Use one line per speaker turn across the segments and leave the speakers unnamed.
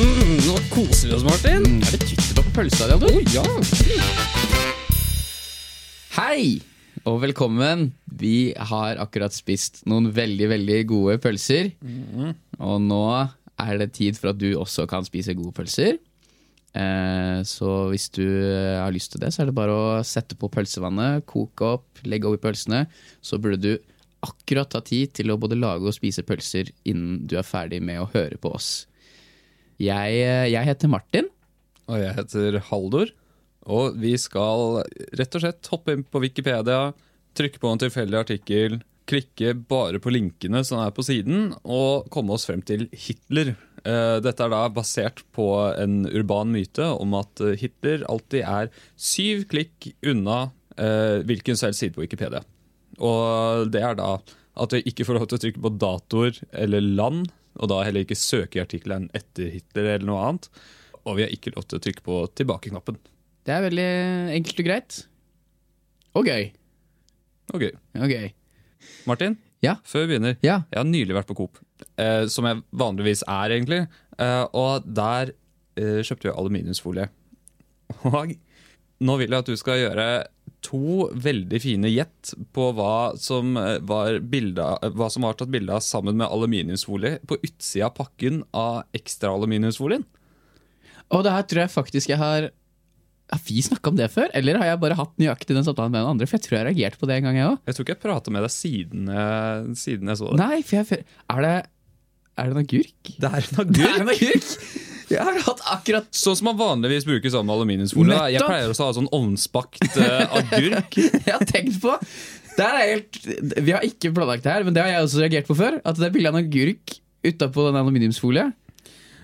Mm, koser oss, Martin.
Er det tyttebær på pølsa di, Aldo?
Mm. Å, ja.
Hei! Og velkommen. Vi har akkurat spist noen veldig, veldig gode pølser.
Mm.
Og nå er det tid for at du også kan spise gode pølser. Eh, så hvis du eh, har lyst til det, så er det bare å sette på pølsevannet, koke opp, legge over pølsene. Så burde du akkurat ta tid til å både lage og spise pølser innen du er ferdig med å høre på oss. Jeg, eh, jeg heter Martin.
Og jeg heter Haldor. Og vi skal rett og slett hoppe inn på Wikipedia, trykke på en tilfeldig artikkel, klikke bare på linkene som er på siden, og komme oss frem til Hitler. Eh, Dette er da basert på en urban myte om at eh, Hitler alltid er syv klikk unna eh, hvilken som helst side på Wikipedia. Og det er da at vi ikke får lov til å trykke på datoer eller land, og da heller ikke søke i artikkelen etter Hitler eller noe annet. Og vi har ikke lov til å trykke på tilbakeknappen.
Det er veldig enkelt og greit. Og gøy.
Ok,
Og gøy.
Martin,
Ja.
før vi begynner.
Ja.
Jeg har nylig vært på Coop, eh, som jeg vanligvis er, egentlig. Eh, og der eh, kjøpte jeg aluminiumsfolie. Og nå vil jeg at du skal gjøre to veldig fine gjett på hva som, eh, var bilda, eh, hva som var tatt bilde av sammen med aluminiumsfolie på utsida av pakken av ekstra aluminiumsfolien.
Og det her tror jeg faktisk jeg har Har vi snakka om det før? Eller har jeg bare hatt nøyaktig den samtalen med noen andre? For jeg tror jeg reagerte på det en gang, jeg òg.
Jeg tror ikke jeg prata med deg siden, eh, siden jeg så det.
Nei, for jeg Er det Er det en agurk?
Det er en agurk!
Det er en agurk! Jeg har hatt akkurat
Sånn som man vanligvis bruker sammen med aluminiumsfolie. da. Jeg
Nettopp!
pleier også å ha sånn ovnsbakt eh, agurk.
jeg har tenkt på. Det her er helt, vi har ikke planlagt det her, men det har jeg også reagert på før. At det er bilde av en agurk utapå den aluminiumsfolien.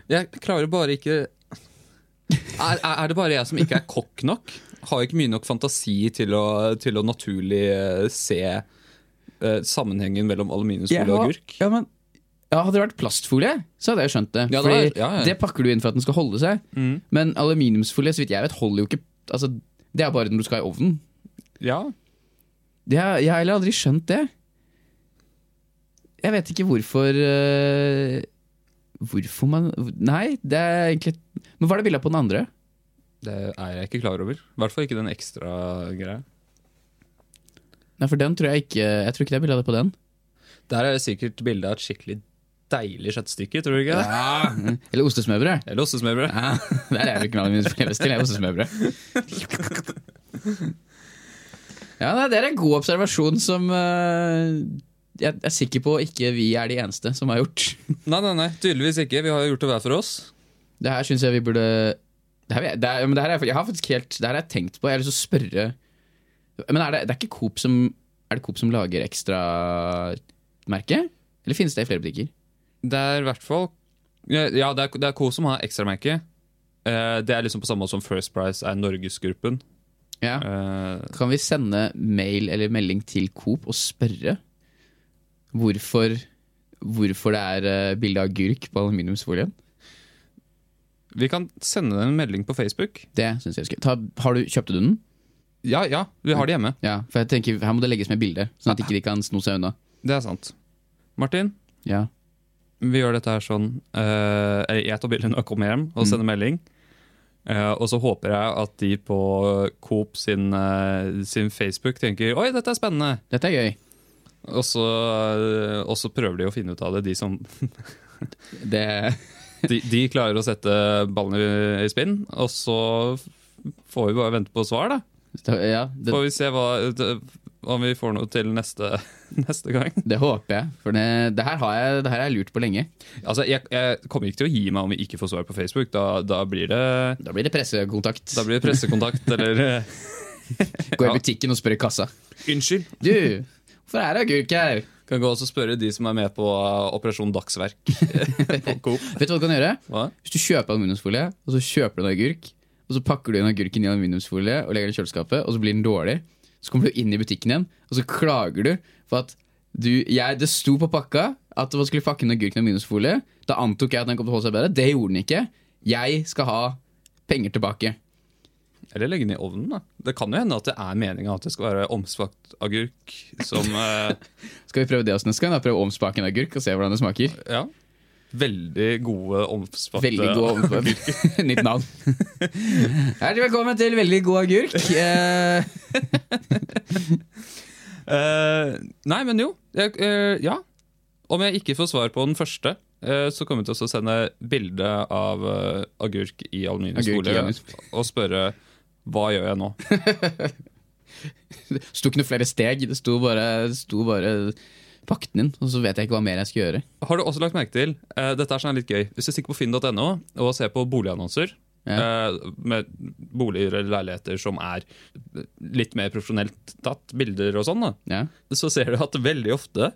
Jeg klarer bare ikke er, er er det bare jeg som ikke er kokk nok? Har ikke mye nok fantasi til å, til å naturlig eh, se eh, sammenhengen mellom aluminiumsfolie og agurk?
Ja, men ja, Hadde det vært plastfolie, så hadde jeg skjønt det.
Ja, det
Fordi
er- ja, ja.
det pakker du inn for at den skal holde seg. Men aluminiumsfolie så vidt jeg vet, holder jo ikke altså, Det er bare når du skal i ovnen.
Ja.
Det har, jeg har heller aldri skjønt det. Jeg vet ikke hvorfor øh, Hvorfor man Nei, det er egentlig Men hva er det bildet på den andre?
Det er jeg ikke klar over. I hvert fall ikke den ekstra greia.
Nei, for den tror jeg ikke Jeg tror ikke det er bilde av det på den.
Der er det sikkert bilde av et skikkelig deilig kjøttstykke, tror du ikke? det?
Eller ostesmørbrød.
Eller ostesmørbrød.
Ja, der er det ikke noe min fremst til, jeg er ostesmørbrød. Ja, nei, det er en god observasjon som øh, jeg er sikker på ikke vi er de eneste som har gjort.
Nei, nei, nei, tydeligvis ikke. Vi har jo gjort det hver for oss.
Det her syns jeg vi burde det her, det er, men det her er, Jeg har faktisk helt Det her har jeg tenkt på. Jeg har lyst til å spørre Men er det, det er ikke Coop som Er det Coop som lager ekstramerke? Eller finnes det i flere butikker?
Det er i hvert fall Ja, ja, det er, det er Co som har ekstramerke. Eh, det er liksom på samme måte som First Price er Norgesgruppen.
Ja.
Eh,
Kan vi sende mail eller melding til Coop og spørre hvorfor Hvorfor det er eh, bilde av agurk på aluminiumsfolien?
vi kan sende dem en melding på Facebook.
Det syns jeg skal Ta, har du, Kjøpte du den?
Ja, ja, vi har det hjemme.
Ja, for jeg tenker Her må det legges med bilde, sånn at ikke de kan sno seg unna.
Det er sant. Martin,
Ja.
vi gjør dette her sånn eh, eller Jeg tar bildet når jeg kommer hjem og sender melding. Eh, og så håper jeg at de på Coop sin, eh, sin Facebook tenker Oi, dette er spennende!
Dette er gøy.
Og så, eh, og så prøver de å finne ut av det, de som
Det
de, de klarer å sette ballen i, i spinn, og så får vi bare vente på svar, da.
Ja, det,
Får vi se hva, det, om vi får noe til neste, neste gang.
Det håper jeg, for det, det, her har jeg, det her har jeg lurt på lenge.
Altså, jeg, jeg kommer ikke til å gi meg om vi ikke får svar på Facebook. Da, da, blir, det,
Da blir det pressekontakt.
da blir det pressekontakt eller eh,
Gå
Ja.
i butikken og spør i kassa.
Unnskyld.
Du, hvorfor er det agurk her?
Kan gå og så spørre de som er med på eh, Operasjon Dagsverk på Coop.
Vet du hva du kan gjøre?
Hva?
Hvis du kjøper aluminiumsfolie, og så kjøper du en agurk, og så pakker du inn agurken i aluminiumsfolie og legger den i kjøleskapet, og så blir den dårlig, så kommer du inn i butikken igjen, og så klager du for at du, jeg, det sto på pakka at man skulle pakke inn agurken i aluminiumsfolie. Da antok jeg at den kom til å holde seg bedre. Det gjorde den ikke. Jeg skal ha penger tilbake.
Eller legge den i ovnen, da. Det kan jo hende at det er meninga at det skal være omspakt agurk som eh,
Skal vi prøve det oss neste gang? da? Prøve å omspake en agurk og se hvordan det smaker.
Ja. Veldig gode, omfattende
Veldig god omkvem. Nytt navn. Hjertelig velkommen til Veldig god agurk. Eh,
Eh, nei, men jo. Jeg, eh, ja. Om jeg ikke får svar på den første, eh, så kommer jeg til å sende bilde av eh, agurk i
Agurk i
aluminiumsfolie
aluminiumsfolie.
og spørre hva gjør jeg nå?
sto ikke noe flere steg. Det sto bare, sto bare pakk den inn, og så vet jeg ikke hva mer jeg skal gjøre.
Har du også lagt merke til, eh, dette er sånn litt gøy, hvis du stikker på finn.no og ser på boligannonser, eh, med boliger eller leiligheter som er litt mer profesjonelt tatt, bilder og sånn, da,
Ja.
så ser du at veldig ofte,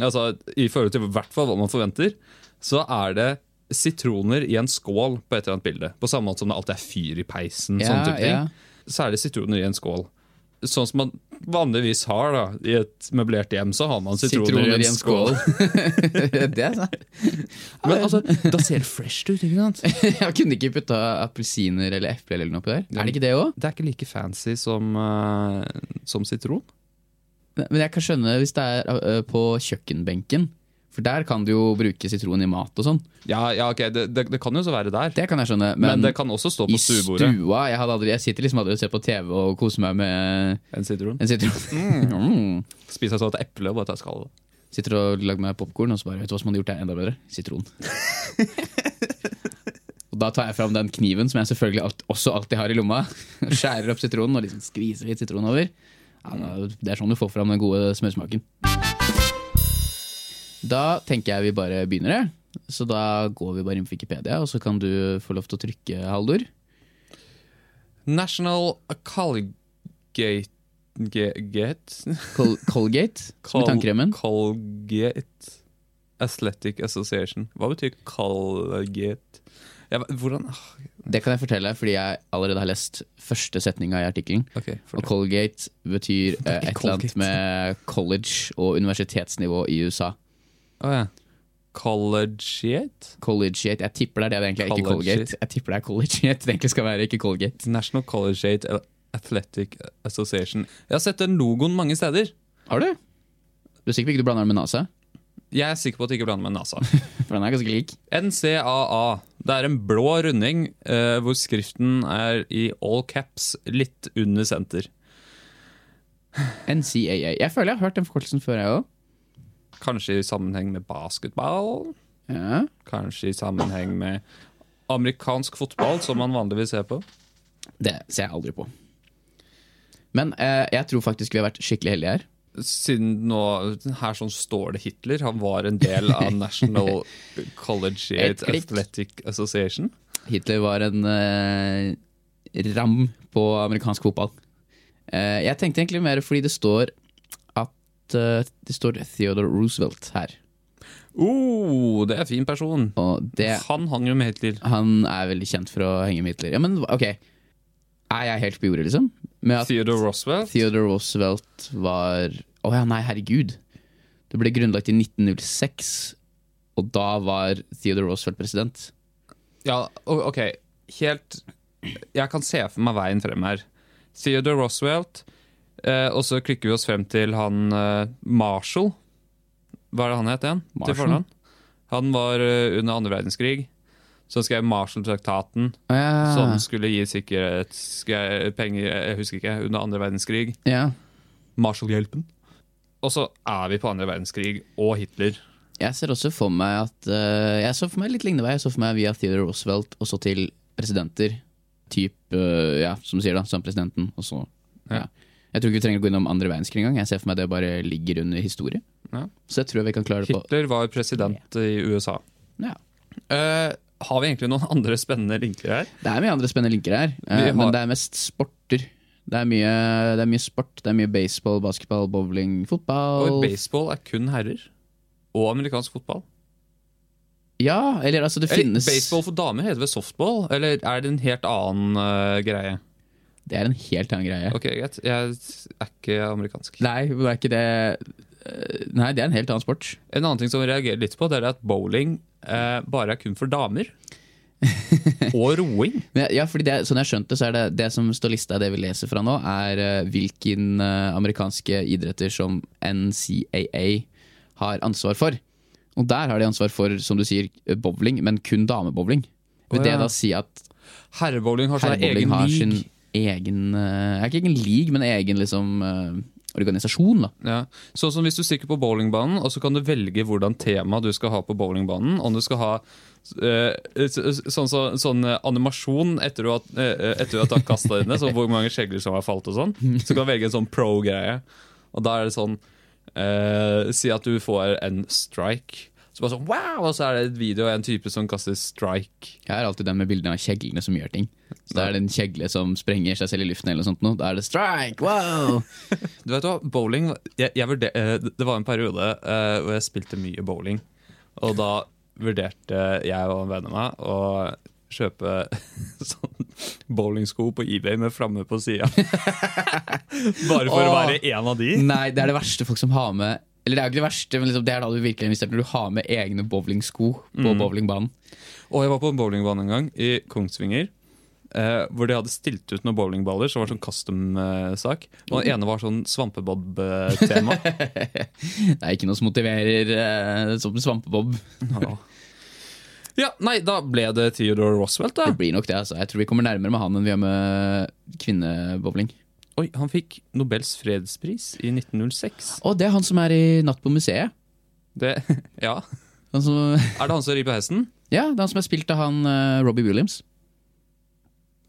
altså i forhold til i hvert fall hva man forventer, så er det sitroner i en skål på et eller annet bilde. På samme måte som det alltid er fyr i peisen.
Ja,
sånne sånn type ting.
ja.
Så er det sitroner i en skål. Sånn som man vanligvis har da, i et møblert hjem, så har man sitroner, i en skål.
det er sant.
Men altså, da ser det fresh ut, ikke sant?
Jeg kunne ikke putta appelsiner eller epler eller noe oppi der. Er det ikke det òg?
Det er ikke like fancy som, eh, som sitron.
Men jeg kan skjønne hvis det er ø, på kjøkkenbenken. For der kan du jo bruke sitron i mat og sånn.
Ja, ja ok, det, det, det kan jo så være der.
Det kan jeg skjønne.
Men,
Men,
det kan også stå
i
på stuebordet.
stua jeg, hadde aldri, jeg sitter liksom aldri og ser på TV og koser meg med
En sitron.
en sitron. Mm.
Spiser jeg sånn et eple og bare tar skallet.
Sitter og lager meg popkorn, og så bare Vet du hva som hadde gjort det enda bedre? Sitron. og da tar jeg fram den kniven som jeg selvfølgelig alt, også alltid har i lomma. og Skjærer opp sitronen og liksom skviser litt sitron over. Ja, da- det er sånn du får fram den gode smørsmaken. Da tenker jeg vi bare begynner, jeg. Så da går vi bare inn på Wikipedia, og så kan du få lov til å trykke, Haldor.
National Colgate Gate?
Col Colgate, som i tannkremen.
Colgate Athletic Association. Hva betyr Colgate? Jeg, vet- hvordan ah,
Det kan jeg fortelle, fordi jeg allerede har lest første setninga i artikkelen.
Ok,
Og
fortell.
Colgate betyr
ikke
eh, et eller annet
Colgate.
med college og universitetsnivå i USA.
Å, ja. Collegiate?
Collegiate, Jeg tipper det er det det egentlig er, ikke
Collegiate.
Colgate. Jeg tipper det er collegiate det egentlig skal være, ikke Colgate.
National Collegiate Athletic Association. Jeg har sett den logoen mange steder.
Har du? Du er sikker på ikke du blander den med NASA?
Jeg er sikker på at jeg ikke blander med NASA.
For den er ganske lik.
NCAA. Det er en blå runding eh, hvor skriften er i all caps litt under senter.
NCAA. Jeg føler jeg har hørt den forkortelsen før, jeg òg.
Kanskje i sammenheng med basketball?
Ja.
Kanskje i sammenheng med amerikansk fotball, som man vanligvis ser på.
Det ser jeg aldri på. Men eh, jeg tror faktisk vi har vært skikkelig heldige her.
Siden nå, her sånn står det Hitler. Han var en del av National
Et
Collegiate
klikk.
Athletic Association.
Hitler var en eh, ram på amerikansk fotball. Eh, jeg tenkte egentlig mer fordi det står at eh, det står Theodore Roosevelt her.
Oh, det er en fin person.
Og det
Han hang jo med Hitler.
Han er veldig kjent for å henge med Hitler. Ja, men ok. Er jeg helt på jordet, liksom? Med at
Theodore Roosevelt.
Theodore Roosevelt var Å ja, nei, herregud. Det ble grunnlagt i 1906, og da var Theodore Roosevelt president.
Ja, o- ok. Helt Jeg kan se for meg veien frem her. Theodore Roosevelt, eh, og så klikker vi oss frem til han eh, Marshall. Hva er det han het igjen? Til
Marshall?
fornavn? Han var eh, under andre verdenskrig. Så skrev Marshall-traktaten,
Å ja.
som skulle gi sikkerhetspenger eh, Jeg husker ikke. Under andre verdenskrig.
ja.
Marshall-hjelpen. Og så er vi på andre verdenskrig og Hitler.
Jeg ser også for meg at eh, Jeg så for meg litt lignende vei. Jeg så for meg via Theodore Roosevelt og så til presidenter. Typ, eh, ja, som du sier, da, som presidenten, og så ja. Jeg tror ikke vi trenger å gå innom andre verdenskrig engang. Jeg ser for meg det bare ligger under historie.
Ja.
Så jeg tror vi kan klare det på
Hitler var president i USA.
ja.
Eh, har vi egentlig noen andre spennende linker her?
Det er mye andre spennende linker her, eh,
Vi har-
men det er mest sporter. Det er, mye, det er mye sport. Det er mye baseball, basketball, bowling,
Og
fotball.
baseball er kun herrer. Og amerikansk fotball.
Ja, eller altså, det
Eller,
finnes
Baseball for damer heter vel softball, eller er det en helt annen eh, greie?
Det er en helt annen greie.
Ok, greit. Jeg er ikke amerikansk.
Nei, men det er ikke det eh, Nei, det er en helt annen sport.
En annen ting som jeg reagerer litt på, det er at bowling eh, bare er kun for damer. og roing.
Men ja, fordi det, sånn jeg har skjønt det, så er det det som står lista i det vi leser fra nå, er eh, hvilken eh, amerikanske idretter som NCAA har ansvar for. Og der har de ansvar for, som du sier, bowling, men kun damebowling. Vil
Å, ja.
det da si at
Herrebowling har sin
herrebowling
egen
har
league.
sin egen eh, Ikke egen league, men egen liksom eh, organisasjon, da.
Ja. Sånn som hvis du stikker på bowlingbanen, og så kan du velge hvordan tema du skal ha på bowlingbanen. Om du skal ha eh, s- s- sånn, så- sånn eh, animasjon etter du har, eh, etter du har tatt kasta dine, så hvor mange skjegler som har falt og sånn. Så kan du velge en sånn pro-greie. Og da er det sånn eh, Si at du får en strike. Så bare sånn wow! Og så er det et video av en type som kaster strike.
Jeg er alltid den med bildene av kjeglene som gjør ting. Så da er det en kjegle som sprenger seg selv i luften, eller noe sånt. nå. Da er det strike! Wow!
Du vet hva, bowling jeg, jeg vurder, eh, Det var en periode eh, hvor jeg spilte mye bowling. Og da vurderte jeg og en venn av meg å kjøpe sånn bowlingsko på eBay med flamme på sida. Bare for å
Åh.
være en av de.
Nei, det er det verste folk som har med Eller det er jo ikke det verste, men liksom, det er da du virkelig investerer når du har med egne bowlingsko på bowlingbanen.
Og jeg var på en bowlingbane en gang i Kongsvinger. eh, hvor de hadde stilt ut noen bowlingballer som var sånn custom-sak. og den ene var sånn eh, svampebob-tema.
Det er ikke noe som motiverer eh, som svampebob.
ja, nei, da ble det Theodore Roosevelt, da.
Det blir nok det, altså. Jeg tror vi kommer nærmere med han enn vi gjør med kvinnebowling.
Oi, han fikk Nobels fredspris i 1906.
Å, det er han som er i Natt på museet.
Det, ja.
Han som,
Er det han som rir på hesten?
ja, det er han som er spilt av han eh, Robbie Williams.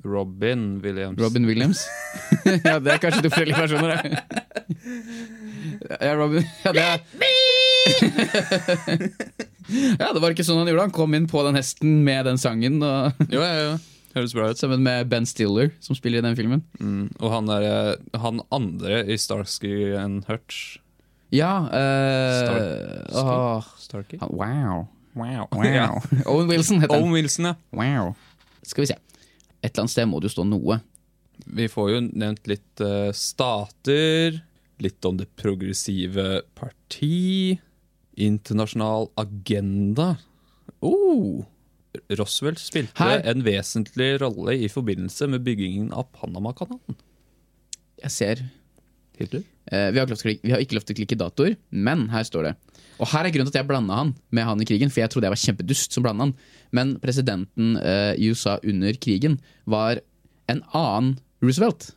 Robin Williams.
Robin Williams. ja, det er kanskje to forskjellige personer, det. Ja, Robin ja, det er... ja, det var ikke sånn han gjorde. Han kom inn på den hesten med den sangen, og,
Jo, ja, ja. Høres bra ut.
sammen med Ben Stiller, som spiller i den filmen.
Mm. Og han, er, eh, han andre i Starsky and Hutch.
Ja eh,
Star-
åh,
Starkey?
han- Wow.
Wow. Ja.
wow. Owen Wilson heter han.
Owen Wilson, ja.
Wow. Skal vi se. Et eller annet sted må det jo stå noe.
Vi får jo nevnt litt eh, stater, litt om det progressive parti, internasjonal agenda. Oh! Roswell spilte
Her-
en vesentlig rolle i forbindelse med byggingen av Panamakanalen.
Jeg ser
Hitler?
Eh, vi, har ikke lov til å klikke, vi har ikke lov til å klikke datoer, men her står det. Og her er grunnen til at jeg blanda han med han i krigen, for jeg trodde jeg var kjempedust som blanda han. Men presidenten eh, i USA under krigen var en annen Roosevelt.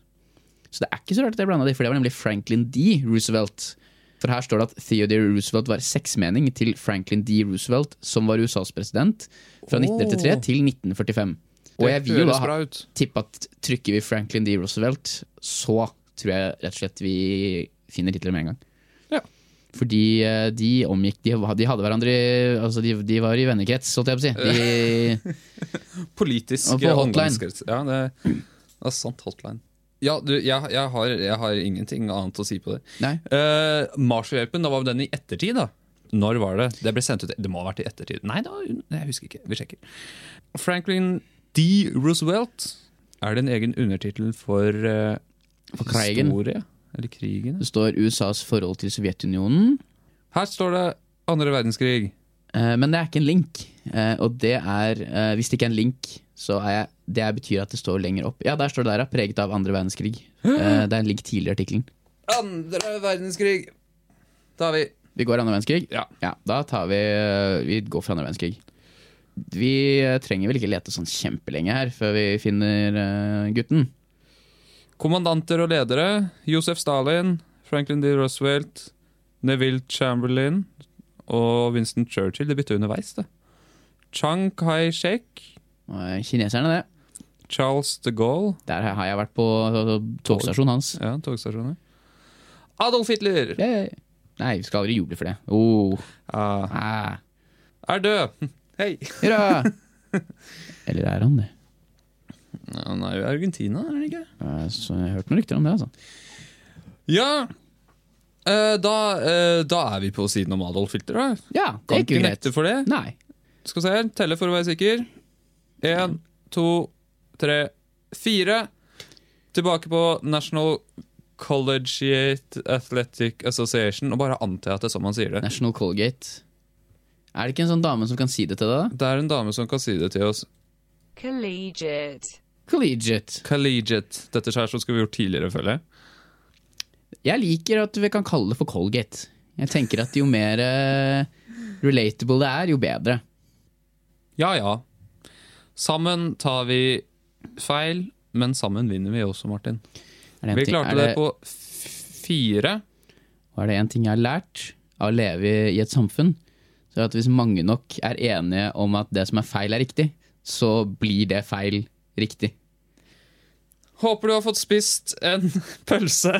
Så det er ikke så rart at jeg blanda de, for det var nemlig Franklin D. Roosevelt. For her står det at Theodore Roosevelt var seksmening til Franklin D. Roosevelt, som var USAs president fra
Åh.
1933 til 1945. Og jeg vil jo da ha
ut.
tippe at trykker vi Franklin D. Roosevelt, så tror jeg rett og slett vi finner Hitler med en gang.
Ja.
Fordi eh, de omgikk De, ha- de hadde hverandre i- altså de, de var i vennekrets, holdt jeg på å si. De,
Politisk
Og på hotline.
omgangskrets. Ja, det, det er sant. Hotline. Ja, du, jeg, jeg, har, jeg har ingenting annet å si på det.
nei.
Eh, Marshall-hjelpen, da var den i ettertid, da. Når var det? Det ble sendt ut Det må ha vært i ettertid. Nei, da, jeg husker ikke. Vi sjekker. Franklin D. Roosevelt. Er det en egen undertittel for, eh,
For krigen.
historie? Eller krigen? ja.
Det står USAs forhold til Sovjetunionen,
Her står det andre verdenskrig.
eh, men det er ikke en link. Eh, Og det er eh, Hvis det ikke er en link, så er jeg, det betyr at det står lenger opp. Ja, der står det der, ja. Preget av andre verdenskrig. Eh, Det er en link tidligere i artikkelen.
Andre verdenskrig! Da har vi
Vi går andre verdenskrig?
Ja.
Da tar vi eh, Vi går for andre verdenskrig. Vi eh, trenger vel ikke lete sånn kjempelenge her før vi finner eh, gutten.
Kommandanter og ledere Josef Stalin, Franklin D. Roosevelt, Neville Chamberlain og Winston Churchill. Det bytta underveis, det. Chang Kai-shek,
Og, eh, Kineserne, det.
Charles de Gaulle
Der har jeg vært på eh, togstasjonen hans.
Ja, togstasjoner. Adolf Hitler
Yay. Nei, vi skal aldri juble for det. Oh.
ah,
Ah.
er død! Hei!
Hurra! Eller er han det?
Ja, Han er jo i Argentina, er han ikke?
Eh, Så jeg har hørt noen rykter om det, altså.
Ja! Eh, da, eh, da er vi på siden om Adolf Hitler, da.
Ja, det
Kan
er ikke
ikke
greit.
nekte for det.
Nei.
Skal vi se her, telle for å være sikker. Én, to, tre, fire. Tilbake på National Collegiate Athletic Association. Og bare anta at det er sånn man sier det.
National Colgate. Er det ikke en sånn dame som kan si det til deg, da?
Det er en dame som kan si det til oss.
collegiate,
Collegiate.
Collegiate. Dette her så skulle vi gjort tidligere, føler jeg.
Jeg liker at vi kan kalle det for Colgate. Jeg tenker at jo mer eh, relatable det er, jo bedre.
Ja ja. Sammen tar vi feil, men sammen vinner vi også, Martin.
Er en
Vi
ting-
klarte
er
det på f- fire.
Og er det én ting jeg har lært av å leve i et samfunn, så er det at hvis mange nok er enige om at det som er feil, er riktig, så blir det feil riktig.
Håper du har fått spist en pølse.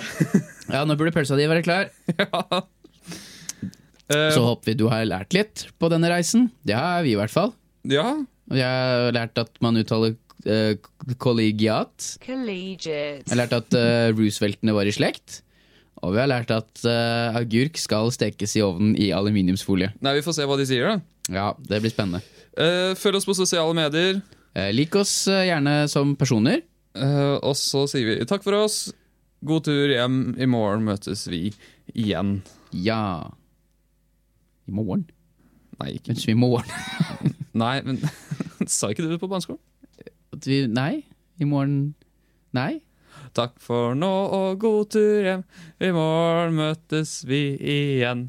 Ja, nå burde pølsa di være klar.
ja. Eh,
Så håper vi du har lært litt på denne reisen. Det har vi i hvert fall.
ja.
Og jeg har lært at man uttaler eh, kollegiat.
collegiate,
Jeg har lært at eh, Rooseveltene var i slekt. Og vi har lært at eh, agurk skal stekes i ovnen i aluminiumsfolie.
Nei, vi får se hva de sier, da.
Ja, det blir spennende.
Eh, følg oss på sosiale medier.
Eh, lik oss eh, gjerne som personer.
Eh, og så sier vi takk for oss. God tur hjem. I morgen møtes vi igjen.
Ja. I morgen?
Nei, ikke.
Kanskje vi i morgen?
Nei men sa ikke du det på barneskolen?
At vi, nei, i morgen Nei.
Takk for nå og god tur hjem. I morgen møtes vi igjen.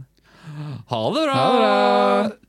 Ha det bra!
Ha det bra!